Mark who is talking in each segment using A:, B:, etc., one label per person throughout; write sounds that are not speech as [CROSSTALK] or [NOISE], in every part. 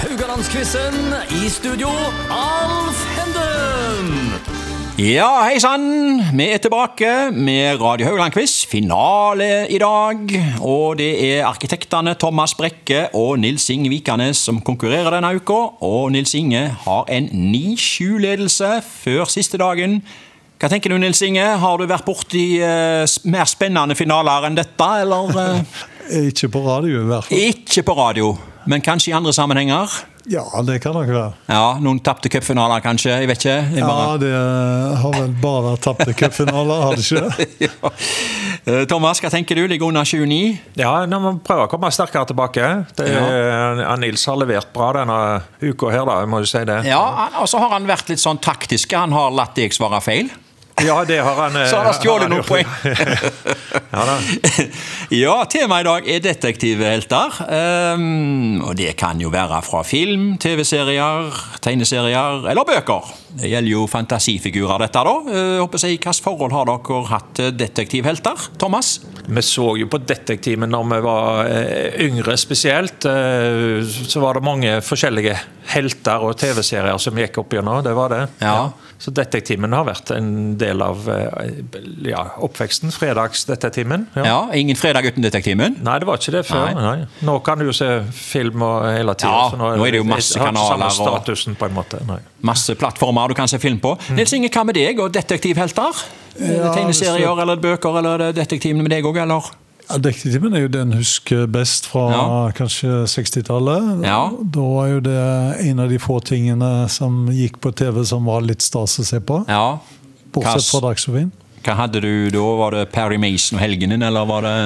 A: Haugalandsquizen. I studio, Alf Henden.
B: Ja, hei sann! Vi er tilbake med Radio Haugland-quiz. Finale i dag. Og det er arkitektene Thomas Brekke og Nils Inge Vikanes som konkurrerer denne uka. Og Nils Inge har en 9-7-ledelse før siste dagen. Hva tenker du, Nils Inge? Har du vært borti eh, s- mer spennende finaler enn dette, eller? eh?
C: Ikke på radio, i hvert fall.
B: Ikke på radio, men kanskje i andre sammenhenger?
C: Ja, det kan nok være.
B: Ja, Noen tapte cupfinaler, kanskje? Jeg vet ikke. Jeg bare...
C: Ja, det eh, har vel bare vært tapte cupfinaler, har det ikke? det?
B: [LAUGHS] Ja. Eh, Thomas, hva tenker du? Ligger under 29?
D: Ja, nå må vi prøve å komme sterkere tilbake. Det, ja, Nils har levert bra denne uka her, da. Jeg må jo si det.
B: Ja, han- og så har han vært litt sånn taktisk. Han har latt deg svare feil.
D: Ja, det har han. eh,
B: [LAUGHS] Så han har stjålet noen
D: gjort.
B: poeng.
D: Ja, da.
B: [LAUGHS] ja, temaet i dag er detektivhelter. Ehm, og det kan jo være fra film, TV-serier, tegneserier eller bøker. Det gjelder jo fantasifigurer, dette, da. Eh, håper jeg, Hvilket forhold har dere hatt til detektivhelter? Thomas?
D: Vi så jo på Detektimen når vi var eh, yngre spesielt. eh, Så var det mange forskjellige helter og TV-serier som gikk opp gjennom. Det var det.
B: Ja.
D: Så Detektimen har vært en del av eh, ja, oppveksten. Fredagsdetektimen. Ja.
B: Ja, Ingen fredag uten Detektimen?
D: Nei, det var ikke det før.
B: Nei.
D: Nei. Nå kan du jo se film og hele tida.
B: Ja, nå er det jo masse kanaler
D: Samme
B: og-
D: statusen, på en måte. Nei.
B: Masse plattformer du kan se film på. Nils Inge, hva med deg og detektivhelter? Er det
C: Ja, altså- hvis
B: Tegneserier eller bøker eller er det detektivene med deg òg, eller?
C: Ja, Detektimen er jo den husker best fra
B: Ja.
C: kanskje 60-tallet.
B: Ja.
C: Da var jo det en av de få tingene som gikk på TV som var litt stas å se på.
B: Ja.
C: Bortsett
B: Kass.
C: fra Dagsrevyen.
B: Hva hadde du da? Var det Parry Mason og helgen din, eller var det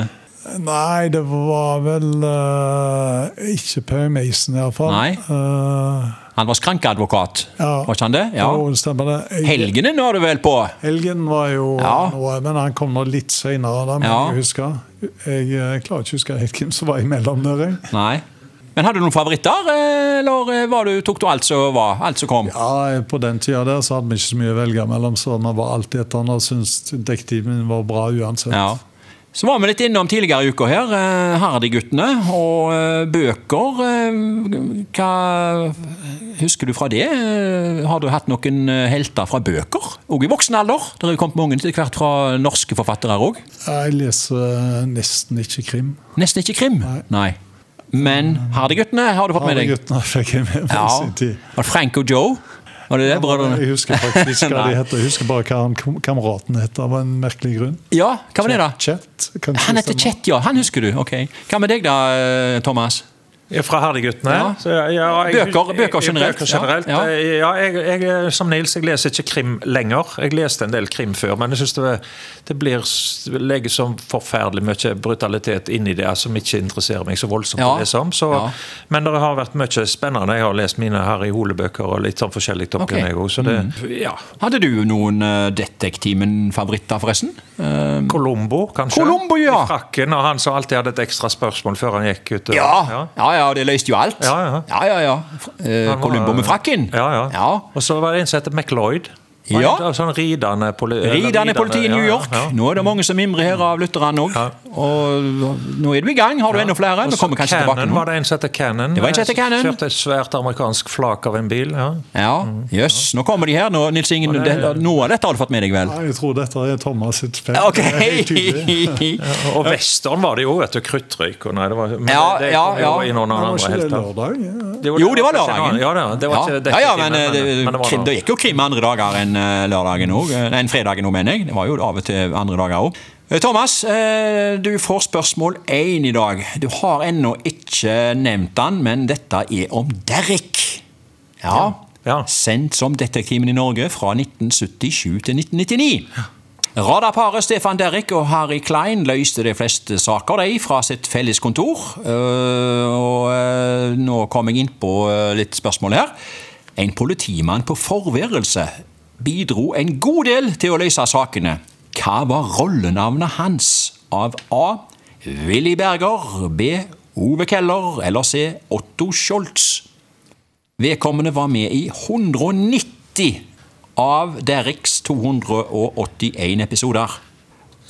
C: Nei, det var vel eh, ikke Perry Mason, iallfall.
B: Nei.
C: Uh,
B: Han var skrankeadvokat,
C: Ja.
B: var ikke han det?
C: ja.
B: Ja.
C: stemmer det. Jeg-
B: Helgen din var du vel på?
C: Helgen var jo
B: Ja.
C: noe, men han kom nå litt seinere. Det må
B: Ja.
C: jeg huske. Jeg eh, klarer ikke å huske helt hvem som var imellom der. jeg.
B: Nei. Men hadde du noen favoritter, eh, eller eh, var du, tok du alt som var? Alt som kom?
C: Ja, På den tida der så hadde vi ikke så mye å velge mellom, så vi var alltid etter han og syntes detektiven var bra uansett.
B: Ja. Så var vi litt innom tidligere i uka her, eh, Hardy-guttene og eh, bøker. eh, Hva husker du fra det? Eh, Har du hatt noen eh, helter fra bøker? Òg i voksen alder? Det er jo kommet mange etter hvert fra norske forfattere òg.
C: Jeg leser nesten ikke krim.
B: Nesten ikke krim. Nei. Men Hardy-guttene har du fått med deg.
C: Guttene fikk jeg med meg i sin tid.
B: Og Frank og Joe. Var det det, brødrene?
C: Jeg husker faktisk
B: [LAUGHS]
C: hva
B: Nei.
C: de heter. Jeg husker bare hva han kam- kameraten het, av en merkelig grunn.
B: Ja, hva var det, da?
C: Chet, kanskje
B: Han heter
C: det stemmer.
B: Chet, ja. Han husker du. ok. Hva med deg, da, eh, Thomas?
D: Ja, Fra Herdeguttene?
B: Ja.
D: Så, ja, jeg-
B: Bøker- bøker generelt,
D: Bøker generelt.
B: ja.
D: Ja, jeg, jeg, som Nils, jeg leser ikke krim lenger. Jeg leste en del krim før, men jeg syns det, det blir s- legges så forferdelig mye brutalitet inn i det som ikke interesserer meg så voldsomt.
B: Ja.
D: å lese om. Så,
B: Ja.
D: Men det har vært mye spennende. Jeg har lest mine Harry Hole-bøker og litt sånn forskjellig. opp
B: Ok. Mm.
D: gjennom jeg også, så det, ja.
B: Hadde du noen eh, Detektimen-favoritter, forresten? Eh,
D: Colombo, kanskje?
B: Columbo, ja.
D: I frakken, og han som alltid hadde et ekstra spørsmål før han gikk ut.
B: ja. Eh, ja, ja, det løste jo alt.
D: Ja, ja.
B: ja, ja, ja. Fr- eh,
D: Han var-
B: Columbo med frakken.
D: Ja, ja.
B: Ja.
D: Og så var det en som heter McLeod. Han
B: Ja.
D: var en Sånn ridende poli eller
B: Ridende politi i
D: ja,
B: New
D: ja,
B: York.
D: ja.
B: Nå er det mange som mimrer her av lytterne òg.
D: Ja.
B: Og nå er du i gang. Har du enda flere?
D: Og
B: Vi
D: så
B: kommer kanskje tilbake
D: Cannon
B: nå.
D: var det en som heter Cannon.
B: Det var en som heter
D: eh, som
B: Cannon.
D: Kjørte et svært amerikansk flak av en bil. Ja.
B: Ja, jøss. Nå kommer de her. Nå, Nils Ingen,
D: det er-
B: det- noe av dette har du fått med deg, vel?
C: Nei, Jeg tror dette er Thomas sitt felt.
B: Ok!
C: Det er helt tydelig.
B: [LAUGHS]
D: Og- Og western var det jo, vet du. Kruttrøyk og nei, det var, men
B: Ja,
D: det, det
B: ja,
D: kom jo
B: ja.
D: inn under
C: Men
D: den
C: var
D: andre
C: ikke
D: helten.
C: det lørdag? Ja.
D: Det var-
B: Jo, det var
D: kanskje en
B: lørdagen.
D: annen- Ja, det, det var
B: ja.
D: ikke
B: ja, ja, men,
D: detektiven,
B: eh, det,
D: men det var
B: krim,
D: noe.
B: det gikk jo krim andre dager enn eh, lørdagen òg. Nei, enn fredagen òg, mener jeg. Det var jo av og til andre dager òg. Thomas, eh, du får spørsmål én i dag. Du har ennå ikke nevnt den, men dette er om Derrick. Ja.
D: Ja.
B: Sendt som Detektimen i Norge fra 1977 til 1999. Radarparet Stefan Derrick og Harry Klein løste de fleste saker de fra sitt felles kontor. Eh, og eh, nå kom jeg inn på eh, litt spørsmål her. En politimann på forværelse bidro en god del til å løse sakene. Hva var rollenavnet hans av A. Willy Berger, B. Ove Keller eller C. Otto Scholz? Vedkommende var med i 190 av Derricks 281 episoder.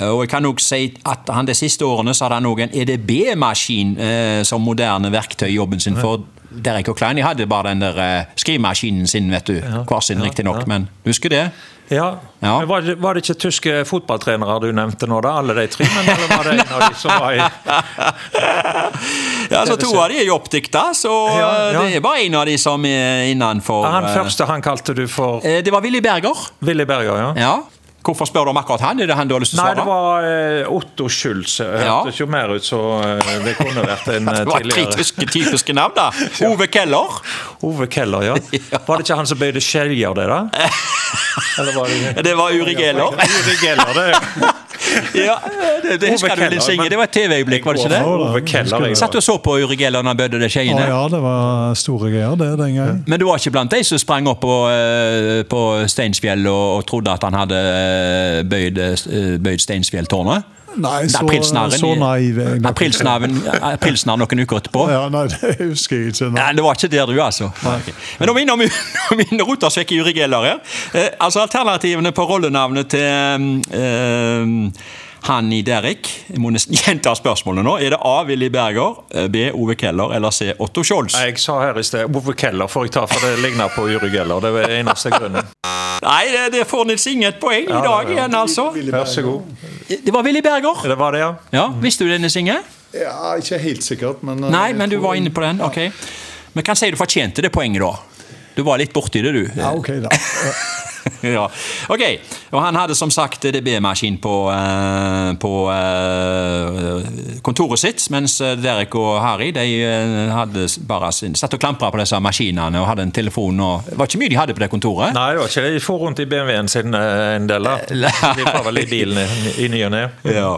B: Eh, Og jeg kan også si at E han De siste årene så hadde han også en EDB-maskin eh, som moderne verktøy i jobben sin for Derek og Klein de hadde bare den der eh, skrivemaskinen sin, vet du.
D: Ja,
B: Hver sin,
D: ja,
B: riktignok,
D: ja.
B: men husker det?
D: Ja.
B: Ja.
D: Men var, det, var det ikke tyske fotballtrenere du nevnte nå, da? Alle de tre? Men eller var det en av de som
B: [LAUGHS]
D: var i
B: Ja, så To av de er jo oppdikta, så
D: Ja,
B: eh,
D: ja.
B: det er bare en av de som er innenfor
D: Han
B: eh,
D: første han kalte du for
B: eh, Det var Willy Berger.
D: Willy Berger, ja?
B: Ja. Hvorfor spør du om akkurat han? Er det han du har lyst til å
D: Nei,
B: svare?
D: det var eh, Otto Schulz.
B: Ja.
D: Hørtes jo mer ut som eh, det kunne vært
B: [LAUGHS]
D: en eh,
B: Det var tre
D: tidligere
B: tyske typiske navn,
C: [LAUGHS]
B: da. Ove Keller.
D: Ove Keller,
B: [LAUGHS]
D: ja. Var det ikke han som bøyde skjeljer, det, da? Eller var det
B: Det var Uri Geller.
D: Ove Keller, det.
B: [LAUGHS] Ja, det, det husker du,
D: Keller,
B: Lins Inge.
D: men-
B: Det var et TV-øyeblikk, var det ikke det?
C: da,
D: Ove Keller,
B: Jeg
D: jeg.
B: satt og så på Uri Geller når han bødde de
C: Å
B: skeiene.
C: ja, det var store greier det den gangen.
B: Men du var ikke blant de som sprang opp på, eh, på Steinsfjell og, og trodde at han hadde eh, bøyd, eh, bøyd Steinsfjelltårnet?
C: Nei, så,
B: Aprilsnarren i-
C: så naiv er jeg nok.
B: Aprilsnarren- Aprilsnarr noen uker etterpå?
C: Ja, nei, [LAUGHS] det husker jeg ikke. Nei.
B: Nei, det var ikke der du, altså. Ok. Men om innom, om innom Rotasvekk i Urigeller her. Eh, altså Alternativene på rollenavnet til eh, han i Derek Jeg må nesten [LAUGHS] gjenta spørsmålet nå. Er det A. Willy Berger, eh, B. Ove Keller eller C. Otto Scholz?
D: Nei,
B: Nei,
D: Jeg sa her i sted Ove Keller får jeg ta, for det ligner på Uri Geller. Det var eneste grunnen.
B: det, det får Nils Inge et poeng i dag
D: det-
B: igjen, altså.
D: Vær så god.
B: Det var Willy Berger.
D: Det var det, ja.
B: Ja, Visste du det, Nils Inge?
C: Ja, ikke helt sikkert, men eh,
B: Nei, men du var inne på den. Ok. Men kan si du fortjente det poenget, da. Du var litt borti det, du.
C: Ja, ok, da.
B: [LAUGHS] ja. Ok, og han hadde som sagt DB-maskin på, eh, på eh, kontoret sitt, mens eh, Derek og Harry de eh, hadde bare sin, satt og klampra på disse maskinene og hadde en telefon. Og, det var ikke mye de hadde på det kontoret.
D: Nei, det var ikke det. De for rundt i BMW-en sin eh, en del, da. De var vel i bilen i- i ny og ne.
B: Ja.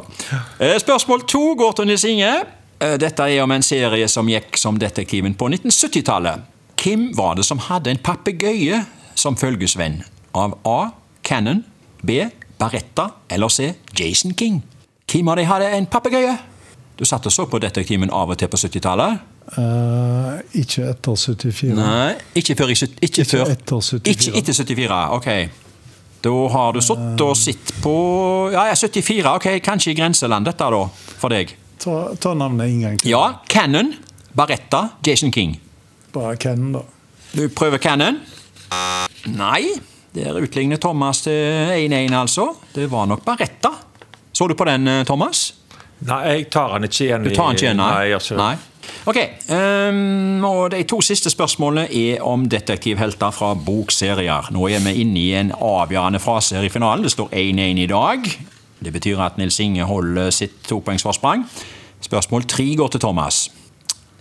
B: Eh, Spørsmål to går til Nils Inge. Eh, Dette er om en serie som gikk som Detektiven på 1970-tallet. Hvem var det som hadde en papegøye som følgesvenn? Av A. Cannon, B. Baretta eller C. Jason King? Hvem av de hadde en papegøye? Du satt og så på Detektiven av og til på 70-tallet?
C: Eh, ikke etter 74.
B: Nei, ikke før i syt- Ikke, før.
C: etter 74.
B: Ikke etter 74, ok. Da har du sittet og sett på Ja, ja, 74, ok, kanskje i grenseland dette da, for deg.
C: Ta, ta navnet en gang til.
B: Ja, Cannon, Baretta, Jason King.
C: Bare Ken, da.
B: Du prøver Cannon. Nei, der utligner Thomas til 1-1 altså. Det var nok Baretta. Så du på den, eh, Thomas?
D: Nei, jeg tar han ikke igjen.
B: Du tar den ikke igjen, nei?
D: Nei, jeg gjør ikke det.
B: Nei. Ok, ehm, og De to siste spørsmålene er om detektivhelter fra bokserier. Nå er vi inne i en avgjørende fase her i finalen. Det står 1-1 i dag. Det betyr at Nils Inge holder sitt topoengsforsprang. Spørsmål tre går til Thomas.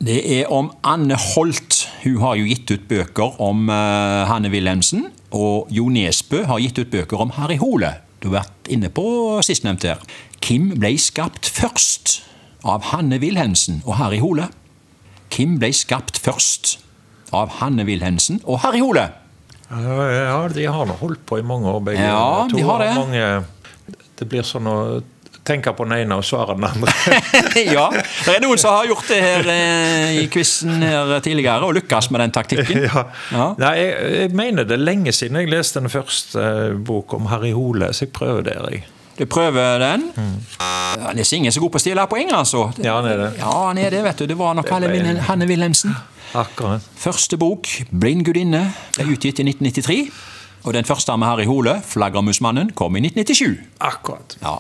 B: Det er om Anne Holt. Hun har jo gitt ut bøker om eh, Hanne Wilhelmsen. Og Jo Nesbø har gitt ut bøker om Harry Hole. Du har vært inne på sistnevnte her. Kim ble skapt først av Hanne Wilhelmsen og Harry Hole. Kim ble skapt først av Hanne Wilhelmsen og Harry Hole. [LAUGHS]
D: Ja, ja, de har nå holdt på i mange år, begge
B: Ja,
D: to.
B: de har det.
D: Mange, det blir sånn å tenke på den ene og svare den andre.
B: [LAUGHS] ja, det er noen som har gjort det her eh, i quizen her tidligere og lykkes med den taktikken.
D: [LAUGHS] ja.
B: Ja.
D: Nei, jeg, jeg mener det er lenge siden jeg leste den første eh, bok om Harry Hole, så jeg prøver der, jeg.
B: Du prøver den. Ja, Nils Inge er så god på å stjele poeng, altså.
D: Ja, han er det.
B: Ja, han er det, vet du. Det var nok Hanne,
D: ble-
B: Wilhel- Hanne Wilhelmsen.
D: Akkurat.
B: Første bok, 'Blind gudinne', ble utgitt i 1993. Og den første med Harry Hole, 'Flaggermusmannen', kom i 1997.
D: Akkurat.
B: Ja.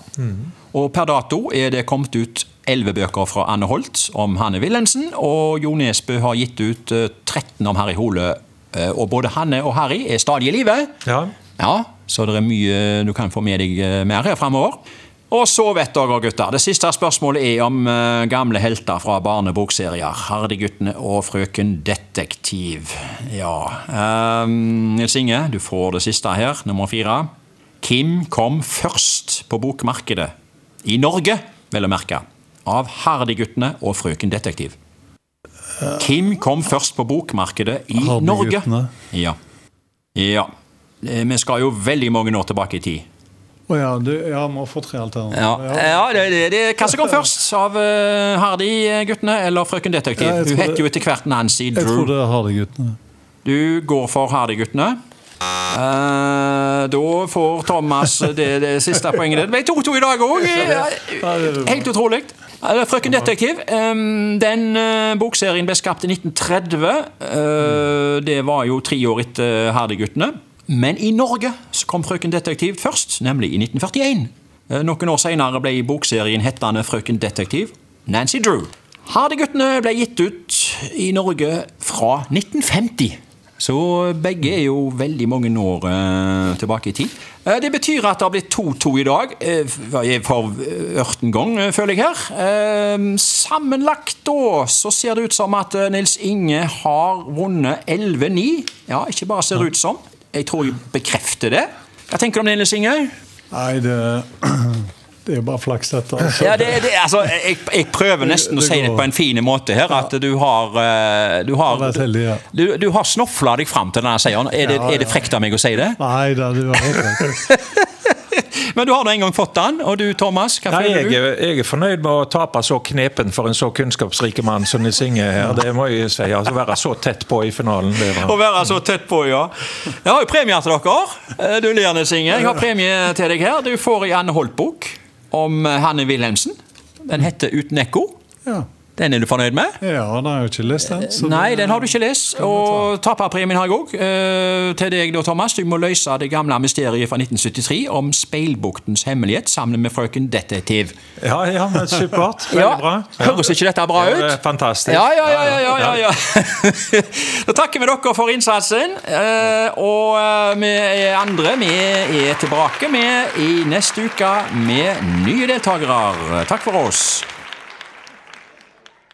B: Og per dato er det kommet ut elleve bøker fra Anne Holt om Hanne Wilhelmsen, og Jo Nesbø har gitt ut eh, 13 om Harry Hole. Eh, Og både Hanne og Harry er stadig i live.
D: Ja.
B: Ja, så det er mye du kan få med deg eh, mer her fremover. Og så vet dere, gutter, det siste spørsmålet er om eh, gamle helter fra barnebokserier. Hardyguttene og Frøken Detektiv. Ja ehm, Nils Inge, du får det siste her, nummer fire. Kim kom først på bokmarkedet? I Norge, vel å merke. Av Hardyguttene og Frøken Detektiv. Kim kom først på bokmarkedet i Norge.
C: Hardyguttene.
B: Ja. Ja. Eh, Vi skal jo veldig mange år tilbake i tid.
C: Å ja, du, ja, må få tre
B: Ja, Eh,
C: alternativer.
B: ja det, det, det Hva som kom først? Av eh, Hardy-guttene eller Frøken Detektiv?
C: Ja, jeg tror
B: Hun het
C: det-
B: jo etter hvert Nancy
C: Jeg tror
B: Drew.
C: det har det, guttene.
B: Du går for Hardy-guttene. Eh, da får Thomas det, det siste poenget. Det ble 2-2 i dag òg.
C: Ja, det er bra.
B: Helt utrolig. Eller, Frøken Detektiv. ehm, Den eh, bokserien ble skapt i 1930. Eh, Det var jo tre år etter Hardy-guttene. Men i Norge så kom Frøken Detektiv først, nemlig i 1941. Eh, Noen år senere ble bokserien hettende Frøken Detektiv Nancy Drew. Hardy-guttene ble gitt ut i Norge fra 1950. Så begge er jo veldig mange år eh, tilbake i tid. Eh, det betyr at det har blitt 2-2 i dag. eh, for eh, ørten gang, eh, føler jeg her. Eh, sammenlagt da så ser det ut som at eh, Nils Inge har vunnet 11-9. Ja, ikke bare ser det ut som. Jeg tror jeg bekrefter det. Hva tenker du om det, Nils Inge?
C: Nei, det, [CLEARS THROAT] det er jo bare flaks, dette. Altså.
B: Ja, det, det, [LAUGHS] altså, jeg, jeg prøver nesten å
C: Det
B: si det
C: går.
B: på en fin måte her, at du har eh, Du har,
C: Jeg har vært heldig, ja.
B: du, du har snofla deg fram til denne seieren. Er det,
C: Ja,
B: er det
C: ja.
B: frekt av meg å si det?
C: Nei da, du har helt rett.
B: Men du har da en gang fått den, og du Thomas, hva
D: Nei,
B: føler
D: jeg,
B: du?
D: er- jeg er fornøyd med å tape så knepen for en så kunnskapsrik mann som Nils Inge her. Det må jeg si. Altså, være så tett på i finalen. Det
B: Å
D: var.
B: være så tett på, ja. Jeg har jo premier til dere. Eh, Du ler, Nils Inge. Jeg har premie til deg her. Du får ei Anne Holt-bok om eh, Hanne Wilhelmsen. Den heter 'Uten ekko'.
C: Ja.
B: Den er du fornøyd med?
C: ja, den har jeg jo ikke lest den. så
B: Nei,
C: det-
B: den har du ikke lest. Og taperpremien har jeg òg. Til deg da, Thomas. Du må løse det gamle mysteriet fra 1973 om speilbuktens hemmelighet sammen med frøken Detektiv.
D: Ja, ja, men supert. Veldig
B: Ja.
D: bra.
B: Høres ikke dette bra
D: Ja,
B: ut?
D: det er fantastisk.
B: Ja, ja, ja. ja, ja, ja, ja. [LAUGHS] da takker vi dere for innsatsen. eh, Og eh, vi er andre vi er tilbake med i neste uke med nye deltakere. Takk for oss.